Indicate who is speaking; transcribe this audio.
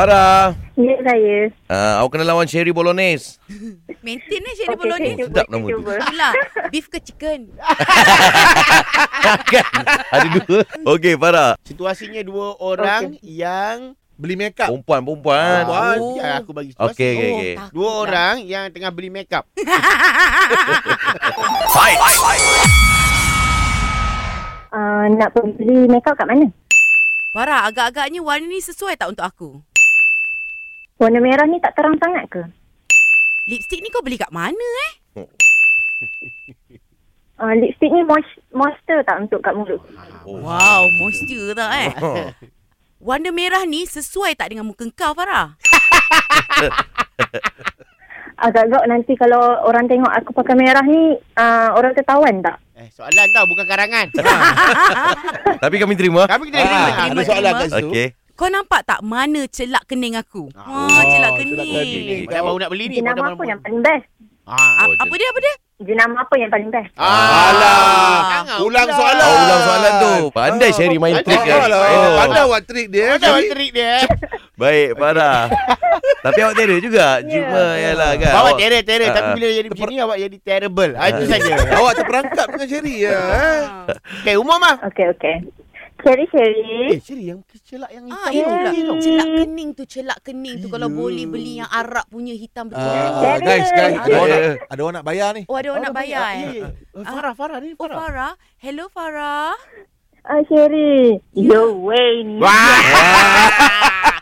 Speaker 1: Farah.
Speaker 2: Ya saya.
Speaker 1: Uh, awak kena lawan Sherry Bolognese.
Speaker 3: Maintain eh Sherry
Speaker 2: Okey,
Speaker 3: Bolognese.
Speaker 2: saya
Speaker 1: Sedap
Speaker 2: cuba,
Speaker 1: nama
Speaker 2: saya
Speaker 1: tu.
Speaker 2: cuba.
Speaker 3: Itulah. Beef ke chicken?
Speaker 1: kan? Ada dua. Okey, Farah.
Speaker 4: Situasinya dua orang yang beli makeup.
Speaker 1: Perempuan, perempuan.
Speaker 4: Perempuan.
Speaker 3: Oh.
Speaker 4: Ya, aku bagi situasi.
Speaker 1: Oh, Okey, okey, okey.
Speaker 3: takut
Speaker 4: Eh, Dua
Speaker 3: lah.
Speaker 4: orang yang tengah beli makeup.
Speaker 2: Uh, nak beli make up kat mana?
Speaker 3: Farah, agak-agaknya warna ni sesuai tak untuk aku?
Speaker 2: Warna merah ni tak terang sangat ke?
Speaker 3: Lipstick ni kau beli kat mana eh?
Speaker 2: Uh, lipstick ni mois- moisture tak untuk kat mulut?
Speaker 4: Oh.
Speaker 3: Wow, moisture tak eh? Warna merah ni sesuai tak dengan muka kau, Farah?
Speaker 2: Agak-agak nanti kalau orang tengok aku pakai merah ni, uh, orang tertawan tak?
Speaker 4: Eh, soalan tau bukan karangan. Ah,
Speaker 1: Tapi kami terima.
Speaker 4: Kami kena
Speaker 3: Ah,
Speaker 4: ah,
Speaker 3: terima,
Speaker 4: ada soalan
Speaker 3: terima.
Speaker 4: kat situ.
Speaker 1: Okey.
Speaker 3: Kau nampak tak mana celak kening aku?
Speaker 4: Ah,
Speaker 3: Ah, celak
Speaker 4: celak
Speaker 3: kening.
Speaker 1: kening.
Speaker 4: Macam Eh, baru nak beli ni.
Speaker 2: Jenama
Speaker 4: padahal
Speaker 2: apa
Speaker 4: malam-
Speaker 2: yang paling best?
Speaker 4: Ah.
Speaker 3: A- apa dia, apa dia?
Speaker 2: Jenama apa yang paling best?
Speaker 4: Ah.
Speaker 1: Alah.
Speaker 4: Jangan Ah.
Speaker 5: Ulang soalan.
Speaker 1: Oh, ulang soalan tu. Pandai
Speaker 5: Ah,
Speaker 1: Sherry main
Speaker 4: pandai.
Speaker 1: trik kan.
Speaker 5: Alah,
Speaker 1: Oh.
Speaker 5: Pandai buat trik dia.
Speaker 4: Macam
Speaker 5: Sherry.
Speaker 4: mana trik dia?
Speaker 1: Baik, Farah. Tapi awak terror juga. Cuma yalah kan.
Speaker 4: Bawa terror-terror.
Speaker 1: Ah,
Speaker 4: Tapi
Speaker 1: ah.
Speaker 4: bila jadi macam ni, awak jadi terrible. Ah, itu
Speaker 1: Ah.
Speaker 4: saja.
Speaker 5: Awak terperangkap dengan Sherry. Ya. eh.
Speaker 4: Okey, umur mah.
Speaker 2: Okey, okey. Sherry-sherry.
Speaker 4: Eh, Sherry yang celak yang
Speaker 3: Ah,
Speaker 4: hitam.
Speaker 3: itu
Speaker 4: ni
Speaker 3: lah.
Speaker 4: tau.
Speaker 3: Celak kening tu, celak kening tu. Kalau
Speaker 5: Ya.
Speaker 3: boleh beli yang Arab punya hitam betul.
Speaker 5: Ah,
Speaker 2: Sherry.
Speaker 5: guys, guys. Ada orang
Speaker 1: Ada.
Speaker 5: nak, ada orang nak bayar ni.
Speaker 3: Oh, ada orang nak bayar eh?
Speaker 4: Ya, ya. Eh, Farah, Farah ni
Speaker 3: Oh,
Speaker 4: Farah.
Speaker 3: Farah. Hello, Farah.
Speaker 2: Ah, Sherry. Your way ni.
Speaker 4: Wah.